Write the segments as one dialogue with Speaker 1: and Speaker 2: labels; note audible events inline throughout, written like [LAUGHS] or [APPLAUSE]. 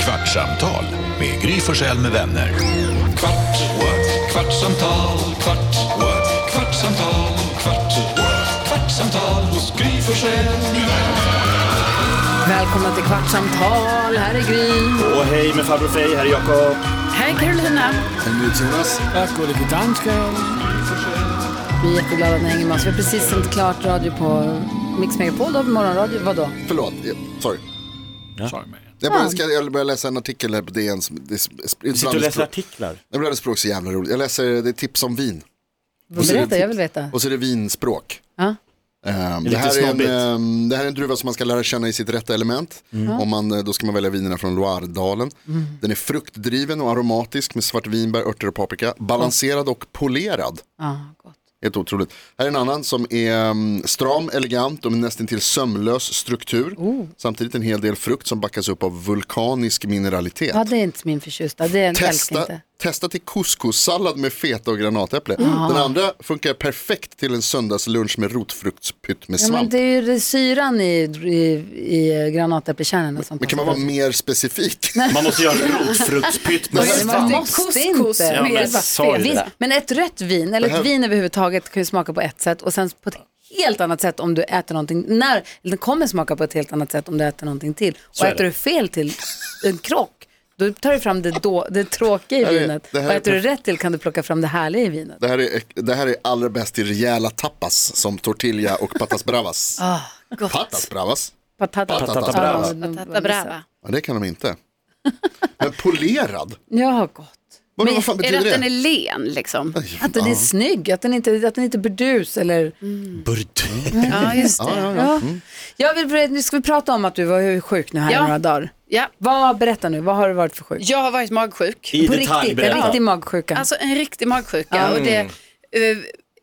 Speaker 1: Kvartsamtal med Gry Forssell med vänner. Kvart, what? kvartsamtal, kvart, what? kvartsamtal, kvart, what? kvartsamtal hos Gry Forssell med vänner.
Speaker 2: Välkomna till Kvartsamtal. Här är Gry.
Speaker 3: Och hej med farbror Frej, här är Jakob.
Speaker 2: Här är Carolina. Vi är jätteglada att ni hänger med oss. Vi har precis sänt klart radio på Mix Megapol, då, morgonradio. Vadå?
Speaker 4: Förlåt, jag- sorry. Jag började, ska, jag började läsa en artikel här på DN. som- Det, är- det,
Speaker 3: Sitter och läser artiklar.
Speaker 4: språk så jävla roligt. Jag läser, det är tips om vin.
Speaker 2: Berätta, jag vill veta.
Speaker 4: Och så är det vinspråk.
Speaker 2: Ja.
Speaker 4: Ehm,
Speaker 3: lite
Speaker 4: det, här är en,
Speaker 3: snobbigt.
Speaker 4: ehm, det här är en druva som man ska lära känna i sitt rätta element. Om man, eh, då ska man välja vinerna från Loiredalen. Den är fruktdriven och aromatisk med svartvinbär, örter och paprika. Balanserad och polerad.
Speaker 2: Ja, gott.
Speaker 4: Helt otroligt. Här är en annan som är mm, stram, elegant och med nästintill sömlös struktur.
Speaker 2: Oh.
Speaker 4: Samtidigt en hel del frukt som backas upp av vulkanisk mineralitet.
Speaker 2: Ja, det är inte min förtjusta. Det är en älskar
Speaker 4: Testa,
Speaker 2: inte. Mm.
Speaker 4: testa till couscous-sallad med feta och granatäpple. Den andra funkar perfekt till en söndagslunch med rotfruktspytt
Speaker 2: Ja,
Speaker 4: med
Speaker 2: men
Speaker 4: svamp.
Speaker 2: det
Speaker 4: men,
Speaker 2: är ju syran i, i, i granatäppelkärnen och sånt.
Speaker 4: kan man vara
Speaker 2: [LAUGHS]
Speaker 4: mer specifik?
Speaker 3: Man måste göra rotfruktspytt med
Speaker 2: Men Man
Speaker 3: svamp.
Speaker 2: måste inte.
Speaker 3: Ja, men
Speaker 2: Det är
Speaker 3: jag
Speaker 2: bara
Speaker 3: sa ju
Speaker 2: fel.
Speaker 3: det.
Speaker 2: Men ett rött vin, eller ett
Speaker 4: här-
Speaker 2: vin överhuvudtaget, kan ju smaka på ett sätt och sen på ett helt annat sätt om du äter någonting. När, eller den kommer smaka på ett helt annat sätt om du äter någonting till.
Speaker 3: Så
Speaker 2: och
Speaker 3: är
Speaker 2: äter
Speaker 3: det.
Speaker 2: du fel till en krock, då tar du fram det, då, det tråkiga i
Speaker 4: här är-
Speaker 2: vinet.
Speaker 4: det här
Speaker 2: Och
Speaker 4: är
Speaker 2: äter du
Speaker 4: perf-
Speaker 2: rätt till kan du plocka fram det härliga i vinet.
Speaker 4: Det här, är, det här är allra bäst i rejäla tapas som tortilla och patas bravas.
Speaker 2: [LAUGHS] Ah, gott.
Speaker 4: Patas bravas?
Speaker 2: Patata.
Speaker 4: Patata
Speaker 2: Ja,
Speaker 3: brava.
Speaker 2: de-
Speaker 5: Tata brava.
Speaker 4: Ja, det kan de inte. Men polerad?
Speaker 2: Ja, gott.
Speaker 4: Vad, vad fan
Speaker 5: Är det
Speaker 4: betyder
Speaker 5: att
Speaker 4: det?
Speaker 5: den är len liksom?
Speaker 2: Att den är snygg, att den inte, att den inte är burdus eller
Speaker 3: Burdu.
Speaker 5: Ja, just det.
Speaker 4: Ja, ja, ja.
Speaker 2: [LAUGHS] Ja. Jag vill, nu ska vi prata om att du var sjuk nu här
Speaker 5: Ja.
Speaker 2: några dagar.
Speaker 5: Ja.
Speaker 2: Vad, berätta nu, vad har du varit för sjuk?
Speaker 5: Jag har varit magsjuk.
Speaker 3: I
Speaker 2: På
Speaker 3: detalj
Speaker 2: riktigt, en
Speaker 3: berätta.
Speaker 2: riktig magsjuka.
Speaker 5: Alltså en riktig magsjuka.
Speaker 4: Mm.
Speaker 5: Och det, eh,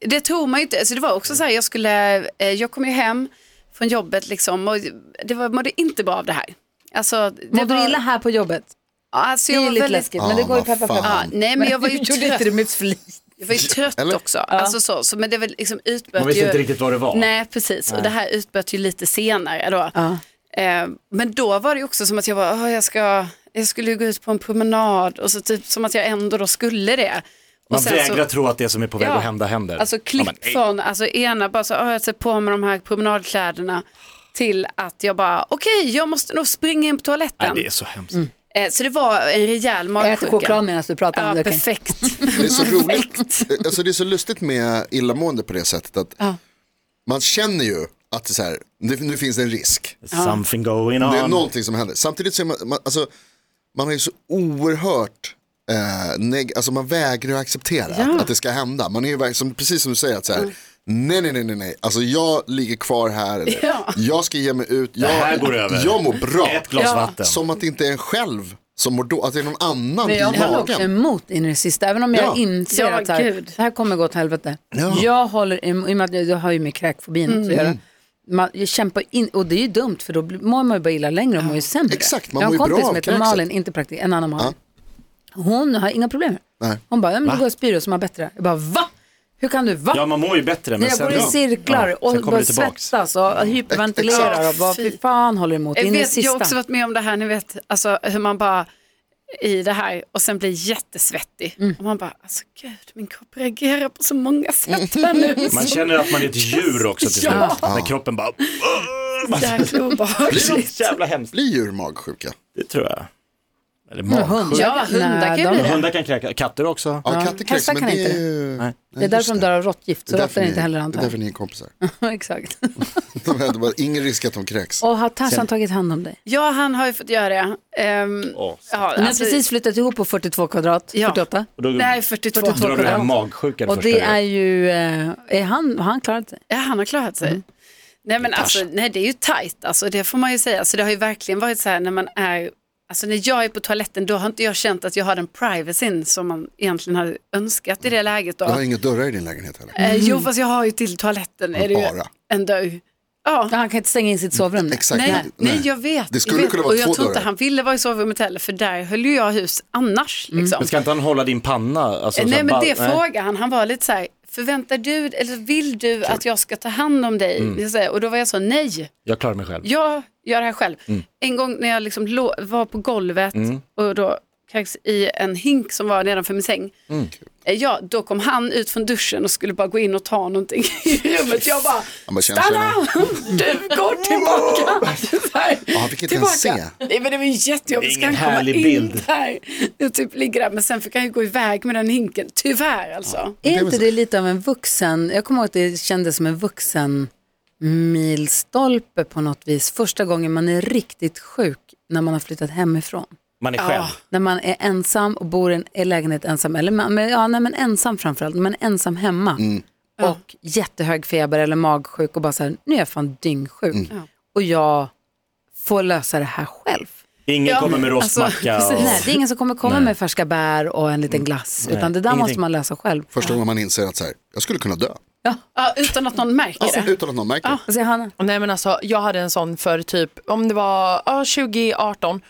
Speaker 5: det tror man ju inte. Alltså, det var också så här, jag, skulle, eh, jag kom ju hem från jobbet liksom, och det var, mådde inte bra av det här. Alltså, det
Speaker 2: Mådde
Speaker 5: var,
Speaker 2: du illa här på jobbet?
Speaker 5: Ja, Alltså,
Speaker 2: Det är
Speaker 5: jag
Speaker 2: ju
Speaker 5: var
Speaker 2: lite
Speaker 5: väldigt,
Speaker 2: läskigt, men det
Speaker 4: Ja,
Speaker 2: går ju
Speaker 4: vad
Speaker 2: peppa
Speaker 4: fan.
Speaker 5: ja,
Speaker 2: peppa.
Speaker 5: nej, men jag var
Speaker 2: Du [LAUGHS]
Speaker 5: ju
Speaker 2: gjorde inte det
Speaker 5: trött,
Speaker 2: med flit.
Speaker 5: jag var ju trött
Speaker 4: Eller?
Speaker 5: också. Alltså, så, så, men det var liksom utbröt
Speaker 3: Man visste
Speaker 5: ju,
Speaker 3: inte riktigt vad det var.
Speaker 5: Nej, precis. Och det här utbröt ju lite senare då.
Speaker 2: Ja.
Speaker 5: Eh, men då var det ju också som att jag var, "Ah, jag, ska, jag skulle ju gå ut på en promenad och så typ som att jag ändå då skulle det. Och
Speaker 3: Man
Speaker 5: sen
Speaker 3: vägrar
Speaker 5: så,
Speaker 3: tro att det som är på väg
Speaker 5: Ja.
Speaker 3: att hända händer.
Speaker 5: Alltså klipp
Speaker 3: Ja, men, ej.
Speaker 5: från, alltså ena bara så, "Ah, jag ser på mig de här promenadkläderna till att jag bara, okej, jag måste nog springa in på
Speaker 3: Nej,
Speaker 5: toaletten.
Speaker 3: det är så hemskt.
Speaker 2: Mm.
Speaker 5: eh, så det var en rejäl
Speaker 2: Ät choklad
Speaker 5: magsjuka.
Speaker 2: medan du pratar
Speaker 5: Ja,
Speaker 2: om det. okej?
Speaker 5: perfekt.
Speaker 3: [LAUGHS]
Speaker 4: [LAUGHS] Det är så roligt. Alltså det är så lustigt med illamående på det sättet att man känner ju att det är så här, nu, nu finns det en risk.
Speaker 3: Something going on.
Speaker 4: Det är någonting som händer. Samtidigt så är man, man, alltså, man har ju så oerhört eh, neg- alltså man vägrar att acceptera att, att det ska hända. Man är ju verkligen, som, precis som du säger, att så
Speaker 2: Mm.
Speaker 4: här, nej, nej, nej, nej, nej, alltså jag ligger kvar
Speaker 2: [LAUGHS]
Speaker 4: här, eller, jag ska ge mig ut, jag,
Speaker 3: här går över.
Speaker 4: jag mår bra.
Speaker 3: Ett glas vatten.
Speaker 4: Som att det inte är en själv som mår då, att det är någon annan
Speaker 2: Men jag
Speaker 4: i
Speaker 2: håller också
Speaker 4: magen.
Speaker 2: emot in i det sista, även om jag
Speaker 4: Ja.
Speaker 2: inser
Speaker 5: Ja,
Speaker 2: att så här,
Speaker 5: gud.
Speaker 2: det här kommer gå åt helvete.
Speaker 4: Ja. Mm.
Speaker 2: Jag håller emot, i och med att jag, jag har ju med kräkfobin också att göra. Man, jag kämpar in, och det är ju dumt för då blir- mår man ju bara illa längre och mår ju sämre.
Speaker 4: Exakt, man
Speaker 2: jag har en
Speaker 4: mår ju
Speaker 2: kompis
Speaker 4: bra
Speaker 2: som
Speaker 4: av
Speaker 2: heter
Speaker 4: kräkset.
Speaker 2: Malin, inte praktik, en annan Malin. Hon har inga problem.
Speaker 4: Nej.
Speaker 2: Hon bara, ja, men då går jag och spyr och så mår jag bättre. Jag bara, va? Hur kan du, va?
Speaker 3: Ja, man mår ju bättre. Men
Speaker 2: jag
Speaker 3: sen,
Speaker 2: går i cirklar
Speaker 3: Ja, sen
Speaker 2: och
Speaker 3: kommer
Speaker 2: bara
Speaker 3: det tillbaks.
Speaker 2: svettas och hyperventilerar och bara, fy fan håller emot
Speaker 5: Jag,
Speaker 2: in i det
Speaker 5: vet, jag
Speaker 2: sista.
Speaker 5: har också varit med om det här, ni vet, alltså, hur man bara i det här och sen blir jättesvettig. Och man bara, alltså gud, min kropp reagerar på så många sätt här nu.
Speaker 3: Man känner att man är ett djur också till slut.
Speaker 2: Ja.
Speaker 3: När kroppen bara...
Speaker 5: Så jäkla
Speaker 3: Det är
Speaker 5: obehagligt.
Speaker 3: så jävla hemskt.
Speaker 4: Blir djur magsjuka?
Speaker 3: Det tror jag. Eller
Speaker 2: Hundar,
Speaker 3: magsjukt.
Speaker 5: Ja, hundar kan ju
Speaker 2: nej,
Speaker 5: bli
Speaker 2: de-
Speaker 5: det.
Speaker 3: Hundar kan kräka. Katter också.
Speaker 4: Ja,
Speaker 2: Ja,
Speaker 4: katter kräks,
Speaker 2: hästar
Speaker 4: men
Speaker 2: kan
Speaker 4: det
Speaker 2: inte
Speaker 4: är ju...
Speaker 3: Nej.
Speaker 2: Det är därför de dör av råttgift, så
Speaker 4: Det är
Speaker 2: råttor är
Speaker 4: ni-
Speaker 2: inte heller
Speaker 4: Det är
Speaker 2: antar
Speaker 4: därför ni är kompisar.
Speaker 2: jag. [LAUGHS] Exakt.
Speaker 4: De hade bara ingen risk att de kräks.
Speaker 2: Och har Tarzan tagit hand om dig?
Speaker 5: Ja, han har ju fått göra det. Ehm,
Speaker 3: Åh, så-
Speaker 5: ja,
Speaker 2: Ni har
Speaker 5: alltså-
Speaker 2: precis flyttat ihop på 42 kvadrat,
Speaker 5: Ja.
Speaker 2: 48.
Speaker 3: Och då
Speaker 5: Nej, 42.
Speaker 3: drar du det här magsjukan
Speaker 2: Och
Speaker 3: första
Speaker 2: det
Speaker 3: gången.
Speaker 2: är ju, eh, är han, har han klarat sig?
Speaker 5: Ja, han har klarat sig. Nej, men alltså, nej, det är ju tajt, alltså, det får man ju säga. Så det har ju verkligen varit så här när man är, alltså när jag är på toaletten, då har inte jag känt att jag har den privacyn som man egentligen hade önskat i det läget. Då.
Speaker 4: Du har inga dörrar i din lägenhet heller.
Speaker 5: Eh, jo, fast jag har ju till toaletten är det ju
Speaker 4: Mm. Bara.
Speaker 5: en dörr. Ja.
Speaker 2: Han kan inte stänga in sitt sovrum nu.
Speaker 4: Exakt.
Speaker 5: Nej, nej, jag vet.
Speaker 4: Det skulle
Speaker 5: jag vet.
Speaker 4: kunna vara
Speaker 5: och jag
Speaker 4: två
Speaker 5: tror inte
Speaker 4: dörrar.
Speaker 5: han ville vara i sovrummet heller, för där höll ju jag hus annars. Liksom. Eh,
Speaker 3: Men ska inte han hålla din panna? Alltså, så
Speaker 5: Nej,
Speaker 3: här
Speaker 5: men
Speaker 3: ball-
Speaker 5: det frågade han. Han var lite så här, förväntar du, eller vill du att jag ska ta hand om dig? Jag säger, Och då var jag så, nej,
Speaker 3: Jag klarar mig själv.
Speaker 5: jag, gör det här själv.
Speaker 4: Mm.
Speaker 5: En gång när jag liksom lå- var på golvet och då kräks i en hink som var nedanför min säng.
Speaker 4: Mm.
Speaker 5: Eh, Ja, då kom han ut från duschen och skulle bara gå in och ta någonting [LAUGHS] i rummet. Jag bara,
Speaker 4: Han bara, "Tjena,
Speaker 5: stanna! [LAUGHS] Du
Speaker 4: [LAUGHS]
Speaker 5: går tillbaka! [LAUGHS] Så här,
Speaker 4: Ja, han fick inte ens
Speaker 5: se. Nej, men det var ju jättejobbigt. Ska
Speaker 3: Ingen
Speaker 5: han komma
Speaker 3: härlig
Speaker 5: in
Speaker 3: bild.
Speaker 5: där? Jag typ ligger där, men sen fick han ju gå iväg med den hinken. Tyvärr alltså.
Speaker 2: Är
Speaker 4: väl
Speaker 2: inte
Speaker 4: så.
Speaker 2: det lite av en vuxen, jag kommer ihåg att det kändes som en vuxen milstolpe på något vis. Första gången man är riktigt sjuk när man har flyttat hemifrån.
Speaker 3: Man är själv.
Speaker 2: När man är ensam och bor i en i lägenhet ensam, eller man, men, ja, nej, men ensam framförallt, när man är ensam hemma
Speaker 4: Mm.
Speaker 2: och jättehög feber eller magsjuk och bara så här, nu är jag fan dyngsjuk
Speaker 4: Mm.
Speaker 2: och jag får lösa det här själv.
Speaker 3: Ingen
Speaker 5: Ja,
Speaker 3: kommer med
Speaker 5: alltså,
Speaker 3: rostmacka. och...
Speaker 5: precis.
Speaker 2: Nej, det är ingen som kommer komma med färska bär och en
Speaker 4: Mm.
Speaker 2: liten glass, utan det där måste
Speaker 3: ingenting.
Speaker 2: man lösa själv.
Speaker 4: Första gången man inser att så här, jag skulle kunna dö. Alltså,
Speaker 5: Ja, utan att någon märker det.
Speaker 4: Utan att någon märker. det.
Speaker 2: Vad säger Hanna?
Speaker 6: Nej men alltså jag hade en sån för typ, om det var ja, 2018.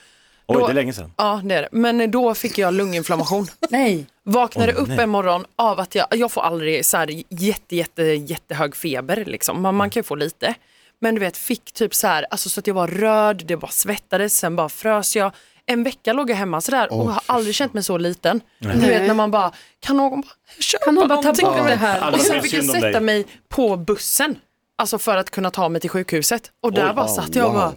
Speaker 3: Oj,
Speaker 6: Då-
Speaker 3: det är länge sedan.
Speaker 6: Ja det är det. Men då fick jag lunginflammation.
Speaker 2: Nej.
Speaker 6: Vaknade
Speaker 3: Åh,
Speaker 6: upp
Speaker 3: nej.
Speaker 6: en morgon av att jag, jag får aldrig så här jätte, jätte, jättehög feber liksom. Man,
Speaker 3: Mm.
Speaker 6: man kan ju få lite. Men du vet, fick typ så här, alltså så att jag var röd, det bara svettades, sen bara frös jag. En vecka låg jag hemma sådär och har aldrig känt mig så liten. Du vet när man bara, kan någon bara köpa
Speaker 2: Kan någon bara ta
Speaker 6: någonting?
Speaker 2: bort det här?
Speaker 6: Och
Speaker 3: Alla
Speaker 6: sen
Speaker 3: tycker
Speaker 6: fick jag
Speaker 3: synd om dig.
Speaker 6: sätta mig på bussen, alltså för att kunna ta mig till sjukhuset. Och där
Speaker 3: Oj, ah,
Speaker 6: bara
Speaker 4: wow,
Speaker 6: satt jag och bara,
Speaker 4: wow.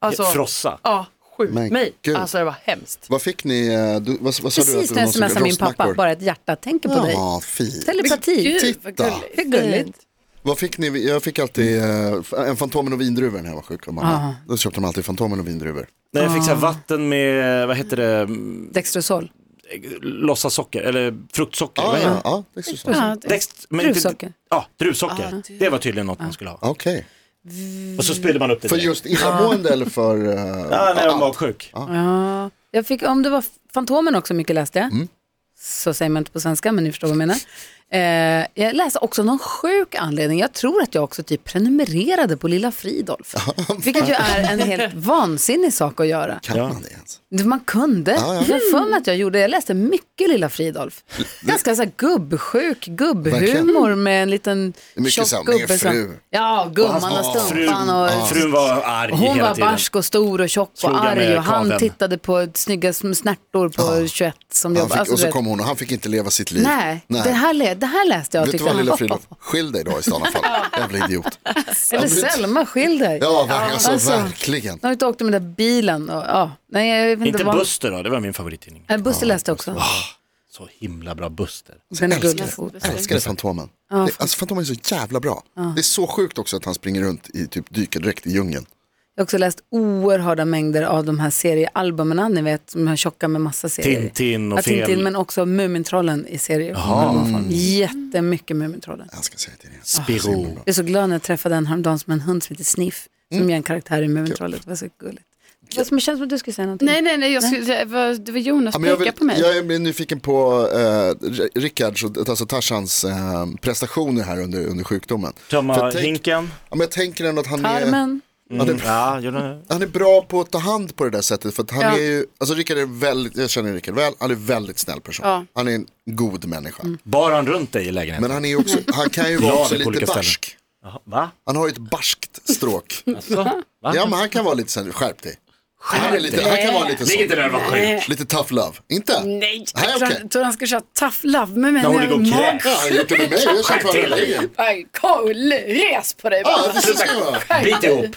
Speaker 6: alltså,
Speaker 3: Frossa.
Speaker 6: ja, skjut
Speaker 4: Men
Speaker 6: mig.
Speaker 4: gud.
Speaker 6: Alltså det var hemskt.
Speaker 4: Vad fick ni, eh, du, vad, vad sa
Speaker 2: Precis
Speaker 4: du?
Speaker 2: när jag smsade min pappa, bara ett hjärta tänker på dig.
Speaker 4: Ja, fint.
Speaker 2: Telepati.
Speaker 5: Gud, vad
Speaker 4: Titta.
Speaker 5: gulligt.
Speaker 2: Hur gulligt.
Speaker 4: Vad fick ni? Jag fick alltid eh, en Fantomen och vindruvor när jag var sjuk. Och mamma. Då köpte de alltid Fantomen och vindruvor.
Speaker 3: Nej, jag fick så här vatten med, vad heter det, mm,
Speaker 2: Dextrosol.
Speaker 3: låtsassocker eller fruktsocker.
Speaker 4: Ja,
Speaker 3: vad heter det?
Speaker 4: ja, ja, det är så. sant.
Speaker 5: Ja, det,
Speaker 3: Dext, men inte-
Speaker 2: Druvsocker.
Speaker 3: Ja, druvsocker. det var tydligen något man skulle ha.
Speaker 4: Okej.
Speaker 3: Och så spydde man upp det.
Speaker 4: För
Speaker 3: direkt.
Speaker 4: just illamående eller för... eh,
Speaker 3: Ja, när jag var
Speaker 4: allt?
Speaker 3: magsjuk.
Speaker 2: Ja. Jag fick, om det var Fantomen också mycket läste jag.
Speaker 4: Mm.
Speaker 2: Så säger man inte på svenska, men ni förstår vad jag menar. Eh, jag läste också av någon sjuk anledning. Jag tror att jag också typ prenumererade på Lilla Fridolf. vilket ju är en helt vansinnig sak att göra.
Speaker 4: Kan man det ens?
Speaker 2: Det Man kunde. Jag för mig att jag gjorde, jag läste mycket Lilla Fridolf. Ganska så här gubbsjuk, gubbhumor
Speaker 4: Verkligen.
Speaker 2: med en liten
Speaker 4: Mycket
Speaker 2: tjock
Speaker 4: så här, med
Speaker 2: gubbe. som-
Speaker 4: fru.
Speaker 2: Ja, gumman och
Speaker 3: Frun,
Speaker 2: stumpan och
Speaker 3: frun var arg
Speaker 2: hon
Speaker 3: hela
Speaker 2: var
Speaker 3: tiden.
Speaker 2: barsk och stor och tjock
Speaker 3: Slog
Speaker 2: och
Speaker 3: jag
Speaker 2: arg
Speaker 3: med
Speaker 2: och han
Speaker 3: kaveln.
Speaker 2: tittade på snygga sm- snärtor på 21 som
Speaker 4: Han
Speaker 2: jobbade.
Speaker 4: fick,
Speaker 2: Alltså,
Speaker 4: och
Speaker 2: du
Speaker 4: så
Speaker 2: vet.
Speaker 4: kom hon och han fick inte leva sitt liv.
Speaker 2: Nej, Det, här, lä- det här läste jag. och
Speaker 4: Vet du
Speaker 2: tyckte
Speaker 4: vad
Speaker 2: jag,
Speaker 4: lilla
Speaker 2: "Hopp,
Speaker 4: Fridolf,
Speaker 2: hopp, hopp."
Speaker 4: skilj dig då i sådana fall. Jävla idiot.
Speaker 2: [LAUGHS] Eller Selma, skilj dig.
Speaker 4: Ja, verkligen, alltså,
Speaker 2: Alltså.
Speaker 4: verkligen.
Speaker 2: När vi inte åkte med den där bilen. Och, ja. Nej, jag vet inte
Speaker 3: Inte
Speaker 2: vad-
Speaker 3: Buster då, det var min favorittidning.
Speaker 2: Nej, Buster läste jag också.
Speaker 3: Så himla bra Buster.
Speaker 2: Den är
Speaker 4: Ah, älskar
Speaker 2: gullig.
Speaker 4: Jag älskade Fantomen. det, alltså Fantomen är så jävla bra. Det är så sjukt också att han springer runt i typ dykardräkt i djungeln.
Speaker 2: Jag har också läst oerhörda mängder av de här seriealbumen, ni vet, de här tjocka med massa serier.
Speaker 3: Tintin och
Speaker 2: ja, Tintin,
Speaker 3: Fel.
Speaker 2: men också Mumintrollen i serier. Jaha. Jättemycket Mumintrollen.
Speaker 4: Jag ska säga det igen.
Speaker 3: Spiro.
Speaker 2: Jag är så glad när jag träffade en häromdagen som en hund som heter Sniff, som är en känner i Mumintrollet. Det var så gulligt. Det som känns som att du skulle säga någonting.
Speaker 5: nej, nej, nej, jag skulle, det, var, det var Jonas
Speaker 4: Ja,
Speaker 5: som
Speaker 4: men jag,
Speaker 5: pekade
Speaker 4: vill,
Speaker 5: på mig.
Speaker 4: jag är nyfiken på eh, Rickards, alltså Tarzans eh, prestationer här under, under sjukdomen. För
Speaker 3: Tömma
Speaker 4: jag tänk-
Speaker 3: hinken.
Speaker 4: Ja, men jag tänker ändå att han är,
Speaker 2: Armen.
Speaker 4: Ja, det-
Speaker 3: Mm. Ja, gjorde det.
Speaker 4: han är bra på att ta hand på det där sättet. För att han
Speaker 5: Ja.
Speaker 4: är ju, alltså Rickard är väldigt, jag känner Rickard väl, han är en väldigt snäll person.
Speaker 5: Ja. Mm.
Speaker 4: Han är en god människa.
Speaker 3: Bar han runt dig i lägenheten?
Speaker 4: Men han, är ju också, han kan ju vara
Speaker 3: Glad
Speaker 4: också
Speaker 3: på
Speaker 4: lite
Speaker 3: olika ställen.
Speaker 4: barsk.
Speaker 3: Jaha, va?
Speaker 4: Han har ju ett barskt stråk.
Speaker 3: Alltså, va?
Speaker 4: Ja men han kan vara lite såhär, skärp dig. Han, är
Speaker 3: Skärp
Speaker 4: lite,
Speaker 3: dig.
Speaker 4: han kan vara lite
Speaker 3: Ligg
Speaker 4: så.
Speaker 3: inte där och var sjuk.
Speaker 4: Lite tough love. Inte?
Speaker 5: Nej,
Speaker 4: Nej,
Speaker 5: jag tror
Speaker 4: okej.
Speaker 5: han- tror han ska köra tough love med mig
Speaker 3: När hon
Speaker 5: när
Speaker 3: ligger och
Speaker 5: jag är
Speaker 4: Ja,
Speaker 3: kräks.
Speaker 4: han har gjort det med mig. Jag har känt varandra i ryggen.
Speaker 5: Aj, Carl, res på dig
Speaker 4: Ja,
Speaker 5: bara.
Speaker 4: precis ska det vara.
Speaker 3: Bit ihop.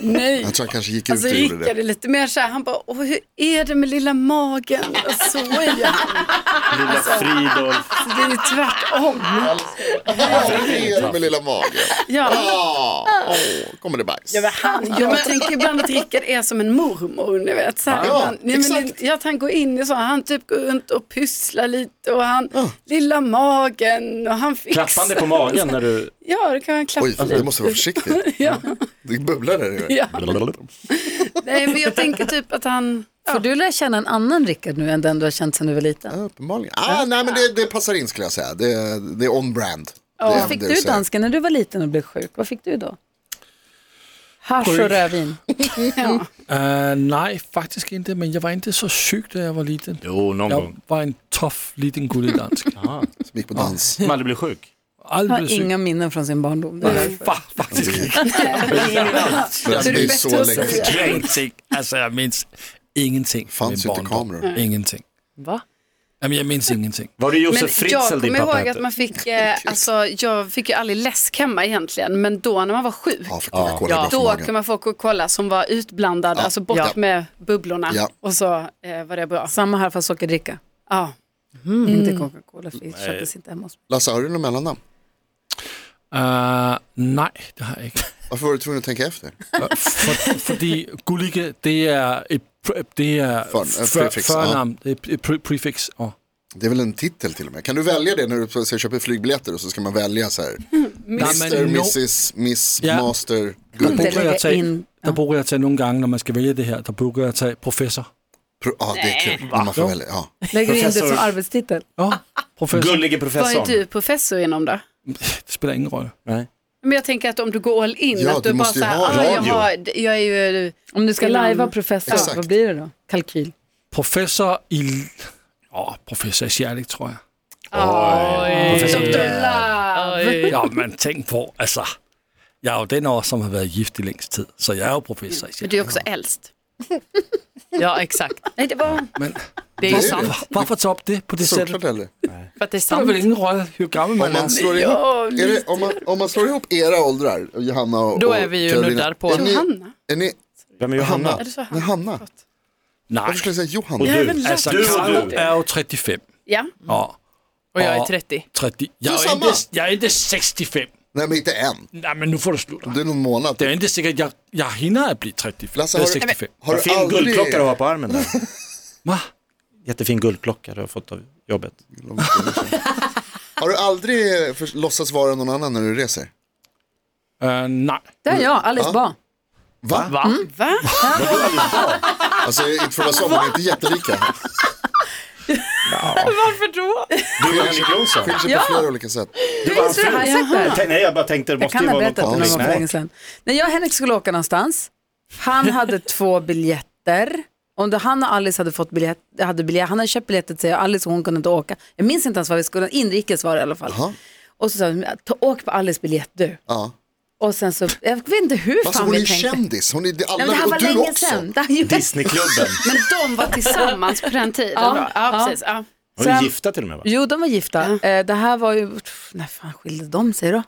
Speaker 5: Nej.
Speaker 4: Jag tror han kanske gick ut
Speaker 5: Alltså
Speaker 4: och gjorde
Speaker 5: Rickard
Speaker 4: det.
Speaker 5: är lite mer så här, han bara, Åh, hur är det med lilla magen? Och Så är han.
Speaker 2: Ah,
Speaker 3: Lilla Fridolf.
Speaker 5: Så det är ju tvärtom.
Speaker 4: Ja, det är det med lilla magen.
Speaker 5: Ja.
Speaker 4: Ja, åh, kommer det bajs.
Speaker 5: Ja, men han, jag tänker ibland att Rickard är som en mormor, ni vet. Så här,
Speaker 4: Ja,
Speaker 5: han, nej, men,
Speaker 4: exakt.
Speaker 5: det- ja, att han går in i så, han typ går runt och pysslar lite och han, lilla magen och han fixar.
Speaker 3: Klappande på magen när du...
Speaker 5: Ja, då kan han klappa
Speaker 4: Oj, du måste vara försiktig.
Speaker 5: [LAUGHS] Ja.
Speaker 4: Det bubblar där i
Speaker 5: Ja. Nej, men jag tänker typ att han...
Speaker 2: Får du lära känna en annan Rickard nu än den du har känt sedan du var liten?
Speaker 4: Ja, Uppenbarligen. Ah, nej men det, det passar in skulle jag säga. Det, det är on brand. Det är
Speaker 2: Vad fick
Speaker 4: det
Speaker 2: du
Speaker 4: säger.
Speaker 2: dansken när du var liten och blev sjuk? Vad fick du då? Hasch och rödvin.
Speaker 7: Uh, nej, faktisk inte. Men jag var inte så syg da jag var liten.
Speaker 3: Jo, någon
Speaker 7: Jag
Speaker 3: gång.
Speaker 4: [LAUGHS]
Speaker 7: var en tuff liten gullig dansk.
Speaker 4: Som gick på dans.
Speaker 3: Man aldrig blir sjuk.
Speaker 7: Aldrig
Speaker 2: har
Speaker 7: syg.
Speaker 2: inga minnen från sin barndom. Det är därför.
Speaker 8: Fa,
Speaker 4: [LAUGHS]
Speaker 8: faktiskt
Speaker 4: Det
Speaker 2: är
Speaker 4: är
Speaker 2: bättre
Speaker 4: så
Speaker 2: att
Speaker 4: länge.
Speaker 2: säga.
Speaker 7: Jag ingenting. Alltså jag minns ingenting. från
Speaker 4: Fanns
Speaker 7: min
Speaker 4: ju inte
Speaker 7: barndom.
Speaker 4: kameror.
Speaker 7: Ingenting.
Speaker 6: Va?
Speaker 7: Nej, men Jag minns ingenting.
Speaker 8: Var det
Speaker 5: Men
Speaker 8: Josef
Speaker 5: jag
Speaker 8: Fritzl din
Speaker 5: kommer
Speaker 8: pappa
Speaker 5: ihåg
Speaker 8: hette?
Speaker 5: att man fick, eh, alltså, jag fick ju aldrig läsk hemma egentligen, men då när man var sjuk,
Speaker 4: Ja, för Coca-Cola är bra för
Speaker 5: då kunde
Speaker 4: magen.
Speaker 5: man få Coca-Cola som var utblandad, alltså bort
Speaker 4: Ja.
Speaker 5: med bubblorna
Speaker 4: Ja.
Speaker 5: och så eh, var det bra.
Speaker 2: Samma här fast sockerdricka.
Speaker 5: Ja.
Speaker 2: Inte Coca-Cola, för det köptes inte hemma hos mig.
Speaker 4: Lasse, har du något mellannamn?
Speaker 7: Eh, nej, det har jag inte.
Speaker 4: Varför var du tvungen att tänka efter?
Speaker 7: For, fordi Gulike, det er et pr- det er
Speaker 4: For-
Speaker 7: før-
Speaker 4: prefix, ja.
Speaker 7: førnavn, det er et pre- prefix. Og
Speaker 4: Det är väl en titel till och med. Kan du välja det när du ska köpa flygbiljetter och så ska man välja så här. Mr,
Speaker 7: no.
Speaker 4: Mrs, Miss,
Speaker 7: Ja.
Speaker 4: Master,
Speaker 7: der
Speaker 4: Good.
Speaker 2: Inte
Speaker 7: bruger, jeg
Speaker 2: lägga
Speaker 7: at tage,
Speaker 2: in-
Speaker 7: der bruger jeg at tage nogle gange, når man skal vælge det her, der bruger jeg at tage professor.
Speaker 4: Pro- Ja, det är kul när man får välja. Ja.
Speaker 2: Lägger in det som
Speaker 8: Professor.
Speaker 2: arbetstitel.
Speaker 7: Ja, professor.
Speaker 8: Gullige
Speaker 5: Vad är
Speaker 8: professorn.
Speaker 2: typ-
Speaker 5: du professor inom då?
Speaker 7: Det spiller ingen rolle.
Speaker 5: Men jag tänker att om du går all in,
Speaker 4: Ja,
Speaker 5: att du,
Speaker 4: du
Speaker 5: bara
Speaker 4: måste ju
Speaker 5: så här,
Speaker 4: ha
Speaker 5: ah, jag,
Speaker 8: radio."
Speaker 5: har, jag är ju,
Speaker 2: Om du ska
Speaker 5: Innan-
Speaker 2: lajva professor,
Speaker 4: Exakt.
Speaker 2: vad blir det då? Kalkyl.
Speaker 7: Professor i... Åh, professor i kärlek, tror jeg.
Speaker 5: Dr.
Speaker 7: Professor i...
Speaker 4: Eh.
Speaker 5: Love.
Speaker 7: Ja, man tænk på, altså... Jeg er jo den år, som har været gift i længst tid, så jeg er jo professor i
Speaker 5: Men du är
Speaker 7: kärlek.
Speaker 5: också äldst.
Speaker 6: Ja, exakt.
Speaker 5: Nej, det var...
Speaker 7: Men øh,
Speaker 6: Det är ju sant.
Speaker 7: varför ta op det på det sæt?
Speaker 4: Såklart eller?
Speaker 6: För att det är
Speaker 7: Det er
Speaker 6: sant.
Speaker 7: vel ingen rolle, hvor gammel
Speaker 4: Om
Speaker 7: man
Speaker 4: man,
Speaker 7: er.
Speaker 4: slår ihop, är det, om, man, om man slår ihop era åldrar, Johanna och
Speaker 6: Då är vi ju
Speaker 4: och Carolina,
Speaker 6: nuddar på-
Speaker 4: är ni,
Speaker 5: Johanna?
Speaker 4: Är ni,
Speaker 8: Vem är Johanna?
Speaker 4: Hanna?
Speaker 5: det så Hanna?
Speaker 4: Nej, Hanna.
Speaker 7: Nej,
Speaker 4: Varför skulle jag säga Johanna?
Speaker 8: Och du? Alltså,
Speaker 7: altså
Speaker 8: Du och
Speaker 7: Karo
Speaker 8: du.
Speaker 7: er jo 35.
Speaker 5: Ja,
Speaker 7: Og
Speaker 6: Och jag är
Speaker 7: Ja.
Speaker 6: 30.
Speaker 7: 30. Jeg
Speaker 4: Du
Speaker 7: er,
Speaker 4: er
Speaker 7: ikke,
Speaker 4: samme.
Speaker 7: jeg er ikke 65.
Speaker 4: Nej, men inte än.
Speaker 7: Nej, men nu får du slutte.
Speaker 4: Det är någon månad.
Speaker 7: Det er ikke sikkert, jeg, jeg hinder at blive 35.
Speaker 4: Lasse,
Speaker 7: det
Speaker 4: har
Speaker 7: er
Speaker 4: du-
Speaker 7: 65.
Speaker 4: Har du
Speaker 8: Fin
Speaker 4: aldrig...
Speaker 8: guldklocka du har på armen där.
Speaker 7: Hva?
Speaker 8: Jättefin guldklocka du har fått av jobbet.
Speaker 4: Har du aldrig eh, för, låtsas vara någon annan när du reser?
Speaker 7: Uh, nej.
Speaker 2: Det är jag, Alice
Speaker 4: Ja.
Speaker 2: Bah.
Speaker 4: Va? Va?
Speaker 2: Mm,
Speaker 5: va?
Speaker 4: Alltså inte för att vara så, men ni är inte jättelika.
Speaker 6: Varför då?
Speaker 8: Du och Henrik Jonsson.
Speaker 4: Skiljer sig på flera olika sätt.
Speaker 8: Du
Speaker 2: Visst är det här jag sagt det?
Speaker 8: Nej, jag bara tänkte det
Speaker 2: Jag
Speaker 8: måste
Speaker 2: kan
Speaker 8: ju
Speaker 2: ha
Speaker 8: vara något
Speaker 2: berättat det någon gång för länge
Speaker 8: koppling.
Speaker 2: sedan. När jag och Henrik skulle åka någonstans,
Speaker 4: [LAUGHS]
Speaker 2: han hade två biljetter. Om det, han och Alice hade fått biljett, hade biljett, han hade köpt biljetter till sig och Alice och hon kunde inte åka. Jag minns inte ens vad vi skulle, inrikes var det i alla fall.
Speaker 4: Jaha.
Speaker 2: Och så sa vi, "Ta- åk på Alice biljett du.
Speaker 4: Ja.
Speaker 2: Och sen så, jag vet inte hur
Speaker 4: Alltså,
Speaker 2: fan
Speaker 4: hon är
Speaker 2: vi
Speaker 4: ju
Speaker 2: tänkte.
Speaker 4: kändis. Hon är, det är alla,
Speaker 2: Nej, men det här
Speaker 4: och
Speaker 2: var
Speaker 4: du
Speaker 2: länge
Speaker 4: också.
Speaker 2: sedan. Det här är ju
Speaker 8: Disneyklubben.
Speaker 2: [LAUGHS]
Speaker 5: Men de var tillsammans på den tiden
Speaker 2: Ja,
Speaker 5: då? Ja,
Speaker 2: ja.
Speaker 5: precis. Ja.
Speaker 8: Hon är
Speaker 2: Sen-
Speaker 8: gifta till och med va?
Speaker 2: Jo, de var gifta. Eh, Det här var ju, pff, när fan skilde de sig då?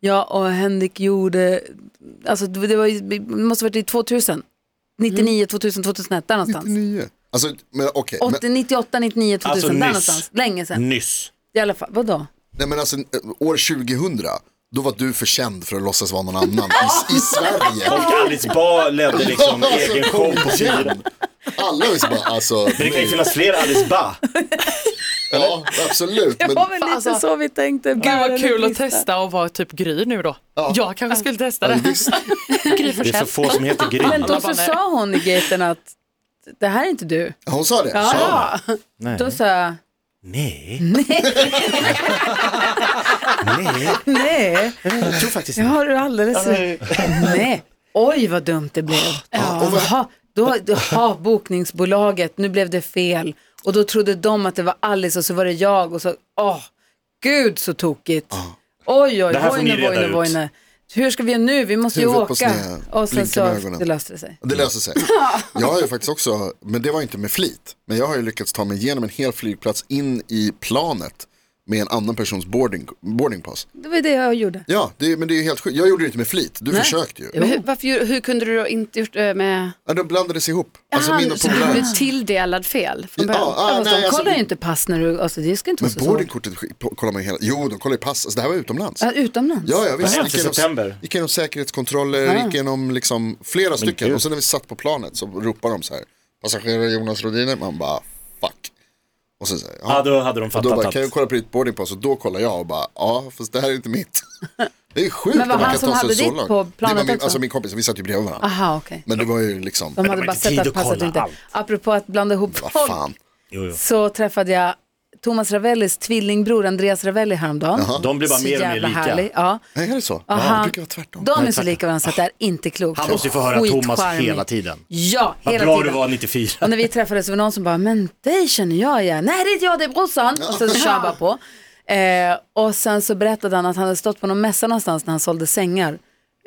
Speaker 2: Jag och Henrik gjorde, alltså det det var ju, det måste ha varit i 2000. 99, 2000, 2001, där någonstans.
Speaker 4: 99. Alltså, men okej. men-
Speaker 2: 80, 98, 99, 2000,
Speaker 8: Alltså
Speaker 2: där
Speaker 8: nyss.
Speaker 2: någonstans. Länge sedan.
Speaker 8: Nyss.
Speaker 2: I alla fall, vadå?
Speaker 4: Nej men alltså eh, år 2000, då var du för känd för att låtsas vara någon annan i, i Sverige.
Speaker 8: Och Alice Bah ledde
Speaker 4: [LAUGHS]
Speaker 8: liksom egen show på fyra.
Speaker 4: igen. Alla visste bara, alltså,
Speaker 8: Men det liksom- kan ju
Speaker 4: nej.
Speaker 8: finnas fler Alice Bah.
Speaker 4: ja absolut. Men,
Speaker 2: var väl lite så vi tänkte.
Speaker 6: Gud vad kul att testa och vara typ Gry nu då. Jag kanske skulle testa det. Gry
Speaker 8: Det är så
Speaker 6: Forssell.
Speaker 8: få som heter Gry.
Speaker 2: Men då
Speaker 6: Alla
Speaker 2: så
Speaker 6: bara, nej.
Speaker 2: sa hon i gaten att det här är inte du.
Speaker 4: hon sa det.
Speaker 2: Ja. Då sa jag, [LAUGHS]
Speaker 8: Nej. Nej.
Speaker 2: nej,
Speaker 8: Jag tror faktiskt
Speaker 2: jag har du alldeles Nej, oj vad dumt det blev. Jaha, då, jaha, bokningsbolaget, nu blev det fel. Och då trodde de att det var Alice och så var det jag och så, åh, gud så tokigt. Oj, oj,
Speaker 8: Det här får ni
Speaker 2: vojne,
Speaker 8: reda
Speaker 2: vojne,
Speaker 8: ut.
Speaker 2: vojne. Hur ska vi göra nu? Vi måste ju
Speaker 4: Huvudet på
Speaker 2: åka.
Speaker 4: sned,
Speaker 2: Och sen
Speaker 4: blinken
Speaker 2: så,
Speaker 4: med ögonen.
Speaker 2: det löste det sig.
Speaker 4: Det löser sig. Jag har ju faktiskt också, men det var inte med flit, men jag har ju lyckats ta mig igenom en hel flygplats in i planet med en annan persons boarding, boarding pass.
Speaker 2: Det var ju det jag gjorde.
Speaker 4: Ja, det, är- men det är ju helt sjukt. Jag gjorde det inte med flit, du försökte ju.
Speaker 5: Men hur, varför, gjorde- hur kunde du då inte gjort det med...
Speaker 4: Ja, de blandades ihop. Alltså
Speaker 5: Jaha,
Speaker 4: min och
Speaker 5: så du blev
Speaker 4: populär.
Speaker 5: tilldelad fel från början?
Speaker 4: Ja, ah,
Speaker 2: Fast
Speaker 4: nej,
Speaker 2: de
Speaker 4: alltså,
Speaker 2: kollar ju inte pass när du, alltså det ska inte
Speaker 4: men
Speaker 2: vara så svårt.
Speaker 4: boardingkortet skick- kollar man ju hela, jo de kollar ju pass, alltså, det här var utomlands.
Speaker 2: Ja, utomlands.
Speaker 4: Ja, ja visst.
Speaker 8: Nej,
Speaker 4: Gick
Speaker 8: till
Speaker 4: igenom-
Speaker 8: september.
Speaker 4: Gick igenom säkerhetskontroller,
Speaker 2: Ah.
Speaker 4: gick igenom liksom flera stycken.
Speaker 8: gud.
Speaker 4: Och sen när vi satt på planet så ropade de så här, passagerare Jonas Rhodiner, man bara fuck. Och sen så här,
Speaker 8: Ja,
Speaker 4: ja.
Speaker 8: då hade de
Speaker 4: Och då
Speaker 8: fattat
Speaker 4: bara, kan jag
Speaker 8: allt.
Speaker 4: kolla på ditt boarding pass? Och då kollar jag och bara, ja fast det här är
Speaker 2: [LAUGHS]
Speaker 4: inte mitt. Det är sjukt
Speaker 2: Men var
Speaker 4: att man
Speaker 2: han
Speaker 4: kan
Speaker 2: som
Speaker 4: ta sig
Speaker 2: hade
Speaker 4: så
Speaker 2: ditt
Speaker 4: långt.
Speaker 2: på
Speaker 4: det var
Speaker 2: planet
Speaker 4: min,
Speaker 2: också?
Speaker 4: alltså min kompis, vi satt ju bredvid varandra.
Speaker 2: Aha, okej.
Speaker 4: Men det var ju liksom,
Speaker 2: De hade
Speaker 8: var
Speaker 2: bara
Speaker 8: inte
Speaker 2: sett
Speaker 8: tid
Speaker 2: att
Speaker 8: att
Speaker 2: passet
Speaker 8: kolla
Speaker 2: inte.
Speaker 8: allt.
Speaker 2: Apropå att blanda ihop
Speaker 4: vad
Speaker 2: folk
Speaker 4: fan.
Speaker 8: Jo, jo.
Speaker 2: så träffade jag Thomas Ravellis tvillingbror Andreas Ravelli häromdagen.
Speaker 8: De blir bara
Speaker 2: Så
Speaker 8: mer och mer
Speaker 2: jävla
Speaker 8: lika.
Speaker 2: härlig. Ja.
Speaker 4: Nej, är det så?
Speaker 2: Aha.
Speaker 4: Ja, det brukar vara tvärtom.
Speaker 2: Ah, De är så lika varandra så att det är inte klokt.
Speaker 8: Han måste ju få höra Thomas
Speaker 2: Skitcharmig.
Speaker 8: hela tiden.
Speaker 2: Ja,
Speaker 8: Vad
Speaker 2: hela
Speaker 8: bra du
Speaker 2: tiden.
Speaker 8: var 94.
Speaker 2: [LAUGHS] Och när vi träffades så var det någon som bara, men dig känner jag igen. Nej det är inte jag, det är brorsan. Och sen så kör han bara på. Eh, och sen så berättade han att han hade stått på någon mässa någonstans när han sålde sängar.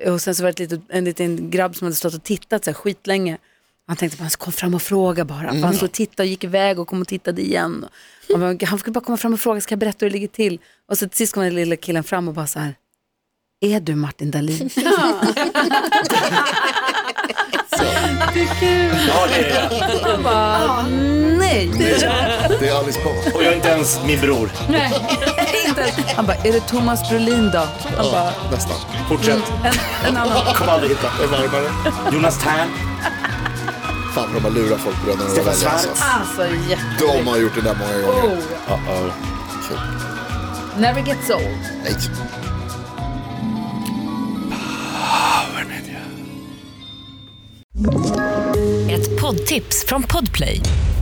Speaker 2: Eh, Och sen så var det ett litet, en liten grabb som hade stått och tittat så här skitlänge. Han tänkte bara, kom fram och fråga bara. För Han stod och tittade och gick iväg och kom och tittade igen. Han, bara, han fick bara komma fram och fråga, ska jag berätta hur det ligger till? Och så till sist kom den lilla killen fram och bara så här, är du Martin Dahlin? [LAUGHS]
Speaker 3: Ja, det är jag.
Speaker 2: Han bara, nej.
Speaker 4: Det är Alice Bah.
Speaker 3: Och jag är inte ens min bror.
Speaker 2: [LAUGHS] Han bara, är det Thomas Brolin då? Han bara,
Speaker 4: Nästan.
Speaker 3: Fortsätt.
Speaker 2: en annan.
Speaker 3: Kommer aldrig hitta.
Speaker 4: Det är varmare.
Speaker 3: Jonas Tern.
Speaker 4: Fan de har lurat folk bröderna och
Speaker 3: Stefan
Speaker 4: Ravelli,
Speaker 3: Schwarz.
Speaker 2: Alltså, jätte...
Speaker 4: De har gjort det där många gånger.
Speaker 2: Oh. Never gets old.
Speaker 4: Nej.
Speaker 6: Ett poddtips från Podplay.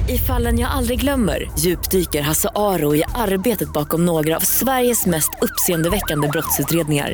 Speaker 6: I fallen jag aldrig glömmer djupdyker Hasse Aro i arbetet bakom några av Sveriges mest uppseendeväckande brottsutredningar.